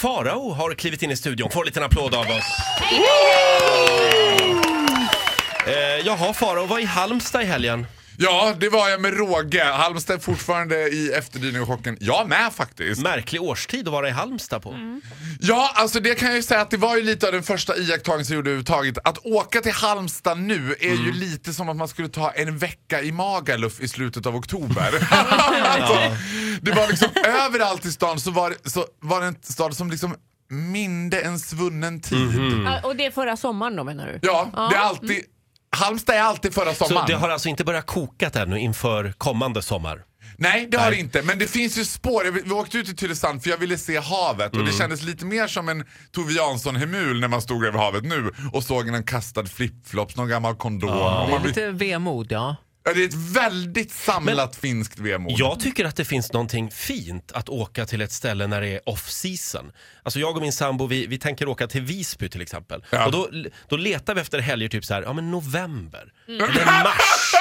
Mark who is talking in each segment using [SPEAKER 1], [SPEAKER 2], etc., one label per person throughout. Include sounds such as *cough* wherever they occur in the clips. [SPEAKER 1] Farao har klivit in i studion. Får en liten applåd av oss. Eh, jaha, Farao var i Halmstad i helgen.
[SPEAKER 2] Ja, det var jag med råge. Halmstad är fortfarande i efterdyning och chocken. Jag med faktiskt.
[SPEAKER 1] Märklig årstid att vara i Halmstad på.
[SPEAKER 3] Mm.
[SPEAKER 2] Ja, alltså det kan jag ju säga att det var ju lite av den första iakttagelsen jag gjorde överhuvudtaget. Att åka till Halmstad nu är
[SPEAKER 1] Mm.
[SPEAKER 2] ju lite som att man skulle ta en vecka i Magaluf i slutet av oktober.
[SPEAKER 1] *laughs*
[SPEAKER 2] alltså, Det var liksom överallt i stan så var, det- så var det en stad som liksom minde en svunnen tid.
[SPEAKER 1] Mhm.
[SPEAKER 3] Ja,
[SPEAKER 4] Ah,
[SPEAKER 3] Och det är förra sommaren då menar du?
[SPEAKER 2] Mm. Ja, det är alltid... Halmstad är alltid förra
[SPEAKER 1] Så
[SPEAKER 2] sommaren.
[SPEAKER 1] det har alltså inte börjat koka ännu inför kommande sommar.
[SPEAKER 2] Nej, det har det inte. Men det finns ju spår. Jag- Vi åkte ut till Tylösand för jag ville se havet och det kändes lite mer som en Tove Jansson-hemul när man stod över havet nu och såg en kastad flipflops, någon gammal kondom. Och man blir-
[SPEAKER 3] Lite Eh, vemod ja.
[SPEAKER 2] Ja, det är ett väldigt samlat finskt vemod.
[SPEAKER 1] Jag tycker att det finns någonting fint att åka till ett ställe när det är off-season. Alltså jag och min sambo, vi, vi tänker åka till Visby till exempel.
[SPEAKER 2] Ja.
[SPEAKER 1] Och då, då letar vi efter helger typ så här, ja men november,
[SPEAKER 3] Mm.
[SPEAKER 1] eller
[SPEAKER 3] *laughs*
[SPEAKER 1] mars.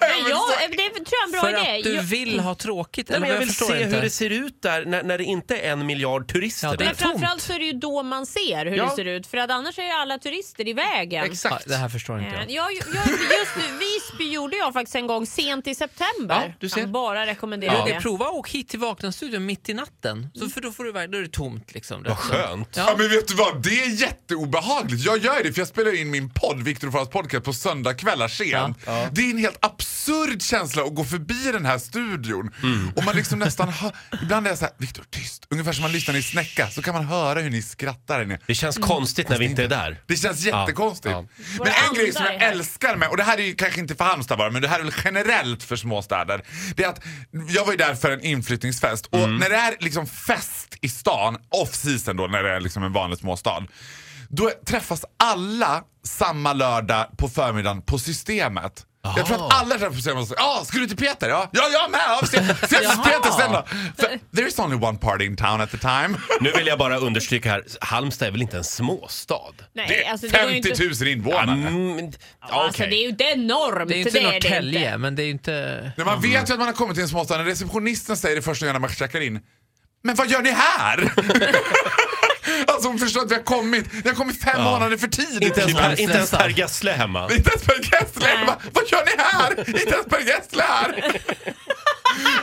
[SPEAKER 4] Men jag, eh, det tror jag är en bra
[SPEAKER 3] För
[SPEAKER 4] idé.
[SPEAKER 3] att du
[SPEAKER 4] Jag-
[SPEAKER 3] vill ha tråkigt?
[SPEAKER 1] Nej,
[SPEAKER 3] eller
[SPEAKER 1] men
[SPEAKER 3] vad?
[SPEAKER 1] jag vill
[SPEAKER 3] förstår
[SPEAKER 1] se
[SPEAKER 3] inte.
[SPEAKER 1] hur det ser ut där när, när det inte är en miljard turister
[SPEAKER 3] Ja, det-
[SPEAKER 1] där.
[SPEAKER 4] Men
[SPEAKER 3] är tomt.
[SPEAKER 4] framförallt så är det ju då man ser hur
[SPEAKER 2] Ja.
[SPEAKER 4] det ser ut för att annars är ju alla turister i vägen.
[SPEAKER 3] Ja,
[SPEAKER 2] Exakt.
[SPEAKER 3] det här förstår inte
[SPEAKER 4] Eh,
[SPEAKER 3] jag.
[SPEAKER 4] Jag, jag, just nu, Visby gjorde jag faktiskt en gång sent i september.
[SPEAKER 2] Ja, du ser.
[SPEAKER 4] Kan bara rekommendera
[SPEAKER 3] Ja.
[SPEAKER 4] det. Mm.
[SPEAKER 3] Prova att åka hit till Vakna-studion mitt i natten. Så för då får du, verk- då är det tomt. Liksom,
[SPEAKER 1] Vad skönt.
[SPEAKER 2] Ja men vet du vad, det är jätteobehagligt. Jag gör det för jag spelar in min podd, Viktor och Faras podcast, på söndagkvällar sent. Det är en helt absurd känsla att gå förbi den här studion. Och man liksom nästan hör, ibland är jag såhär, Viktor tyst. Ungefär som man lyssnar i Snäcka, så kan man höra hur ni skrattar där inne.
[SPEAKER 1] Det känns
[SPEAKER 4] Mm.
[SPEAKER 1] konstigt när vi inte är där.
[SPEAKER 2] Det känns jättekonstigt.
[SPEAKER 1] Ja,
[SPEAKER 4] Våra
[SPEAKER 2] Men en grej som
[SPEAKER 4] andar
[SPEAKER 2] jag
[SPEAKER 4] är här.
[SPEAKER 2] älskar med, och det här är ju kanske inte för Halmstad bara, men det här är väl generellt för småstäder. Det är att jag var ju där för en inflyttningsfest och
[SPEAKER 1] Mm.
[SPEAKER 2] när det är liksom fest i stan, off season då, när det är liksom en vanlig småstad. Då träffas alla samma lördag på förmiddagen på Systemet. Jag tror att alla träffas på Systemet och säger ah, ska du till Peter? Ja, ja jag med! Ja,
[SPEAKER 1] *laughs*
[SPEAKER 2] ses ses hos Peter sen då! För there is only one party in town at the time.
[SPEAKER 1] Nu vill jag bara understryka här, Halmstad är väl inte en småstad?
[SPEAKER 4] Nej,
[SPEAKER 2] Det är
[SPEAKER 4] alltså, det går ju
[SPEAKER 2] *laughs* 50
[SPEAKER 4] inte,
[SPEAKER 2] 000 invånare.
[SPEAKER 1] Mm,
[SPEAKER 4] Ja,
[SPEAKER 1] ja,
[SPEAKER 4] alltså,
[SPEAKER 1] okej.
[SPEAKER 4] det är ju inte enormt.
[SPEAKER 3] Det är ju inte
[SPEAKER 4] det
[SPEAKER 3] Norrtälje,
[SPEAKER 4] inte.
[SPEAKER 3] men det är ju inte...
[SPEAKER 2] När man vet ju att man har kommit till en småstad, när receptionisten säger det första gången när man checkar in. Men vad gör
[SPEAKER 1] *laughs*
[SPEAKER 2] ni här? alltså hon förstår att vi har kommit, vi har kommit fem månader för tidigt.
[SPEAKER 1] Inte ens,
[SPEAKER 2] till
[SPEAKER 1] per,
[SPEAKER 2] Halmstad.
[SPEAKER 1] inte ens Per Gessle är hemma.
[SPEAKER 2] inte ens Per Gessle!
[SPEAKER 4] Nej.
[SPEAKER 2] Bara, Vad gör ni här? Inte ens Per Gessle är här!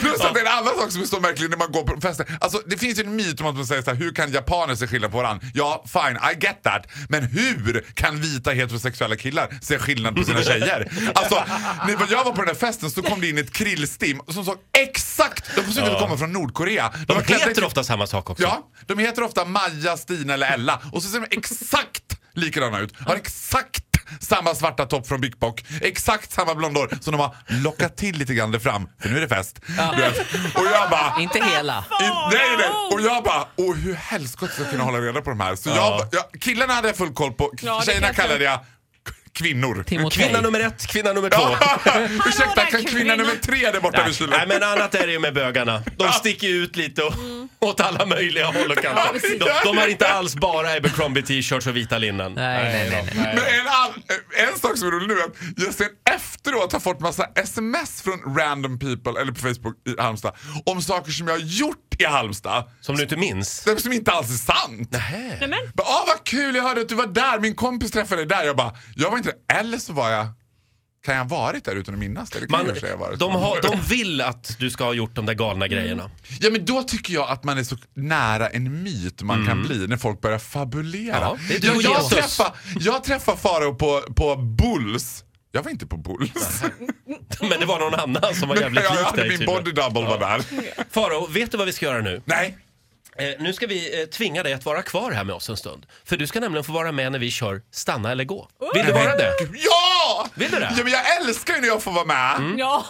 [SPEAKER 2] Plus att det är en annan sak som är så märklig när man går på fester. Alltså det finns ju en myt om att man säger så här, hur kan japaner se skillnad på varandra? Ja, fine, I get that. Men hur kan vita heterosexuella killar se skillnad på sina tjejer? Alltså, när jag var på den där festen så kom det in ett krillstim som såg exakt, de såg ut att komma från Nordkorea.
[SPEAKER 1] De
[SPEAKER 2] var klädda i-
[SPEAKER 1] heter ofta samma sak också.
[SPEAKER 2] Ja, de heter ofta Maja, Stina eller Ella och så ser de exakt likadana ut. Har exakt samma svarta topp från Big Bock, exakt samma blondor som de har lockat till lite grann där fram, för nu är det fest. Du vet. Och jag bara...
[SPEAKER 3] Inte hela.
[SPEAKER 2] I, nej, nej. Och jag bara, åh hur helskotta ska jag kunna hålla reda på de här? Så jag, jag, killarna hade jag full koll på,
[SPEAKER 4] Ja, det
[SPEAKER 2] tjejerna
[SPEAKER 4] kan jag-
[SPEAKER 2] kallade jag k- kvinnor.
[SPEAKER 3] Timotej.
[SPEAKER 1] Kvinna nummer ett, kvinna nummer
[SPEAKER 4] *laughs*
[SPEAKER 1] två.
[SPEAKER 2] *laughs* Ja, Ursäkta,
[SPEAKER 4] där
[SPEAKER 2] kan kvinna
[SPEAKER 4] kvinnor.
[SPEAKER 2] nummer tre där borta
[SPEAKER 1] Nej,
[SPEAKER 2] vid kylen?
[SPEAKER 1] nej men annat är det ju med bögarna. De sticker ju ut lite och,
[SPEAKER 4] Mm.
[SPEAKER 1] åt alla möjliga håll och kanter. De, de har inte alls bara Abercrombie t-shirts och vita linnen.
[SPEAKER 3] Nej, nej, nej,
[SPEAKER 1] då.
[SPEAKER 2] Men en, all, en sak som är rolig nu är att jag sen efteråt har fått massa sms från random people, eller på Facebook i Halmstad, om saker som jag har gjort i Halmstad.
[SPEAKER 1] Som du inte minns.
[SPEAKER 2] Det Som inte alls är sant.
[SPEAKER 1] Hä?
[SPEAKER 4] Nej, men,
[SPEAKER 2] Bara, Ah, vad kul, jag hörde att du var där, min kompis träffade dig där. Jag bara, jag var inte där. Eller så var jag, kan jag ha varit där utan att minnas det? det kan
[SPEAKER 1] Man,
[SPEAKER 2] jag i och för sig ha varit.
[SPEAKER 1] de, har, de vill att du ska ha gjort de där galna
[SPEAKER 4] Mm.
[SPEAKER 1] grejerna.
[SPEAKER 2] Ja men då tycker jag att man är så nära en myt man kan bli när folk börjar fabulera.
[SPEAKER 1] Mm. Ja, det är
[SPEAKER 2] jag,
[SPEAKER 1] du,
[SPEAKER 2] jag,
[SPEAKER 1] Jesus.
[SPEAKER 2] träffade, jag träffade Farao på, på Bulls. Jag var inte på Bulls.
[SPEAKER 1] Men det var någon annan som var jävligt
[SPEAKER 2] *laughs* jag
[SPEAKER 1] lik
[SPEAKER 2] hade
[SPEAKER 1] dig
[SPEAKER 2] min
[SPEAKER 1] tydligen.
[SPEAKER 2] body double var där.
[SPEAKER 1] Faro, vet du vad vi ska göra nu?
[SPEAKER 2] Nej.
[SPEAKER 1] Eh, nu ska vi eh, tvinga dig att vara kvar här med oss en stund. För du ska nämligen få vara med när vi kör Stanna eller gå. Vill du vara det?
[SPEAKER 2] Ja!
[SPEAKER 1] Vill du det? Mm.
[SPEAKER 2] Ja, men jag älskar ju när jag får vara med.
[SPEAKER 4] ja,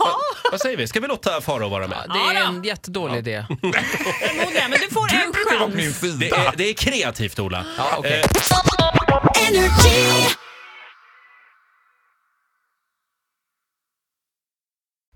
[SPEAKER 1] Vad säger vi? Ska vi låta Faro vara med?
[SPEAKER 3] Det är
[SPEAKER 4] Ja,
[SPEAKER 3] en jättedålig idé.
[SPEAKER 4] förmodligen. Men du får en
[SPEAKER 2] Du var på min
[SPEAKER 4] chans.
[SPEAKER 2] sida.
[SPEAKER 1] Det är, det är kreativt, Ola.
[SPEAKER 3] Ja, okej.
[SPEAKER 5] Energy.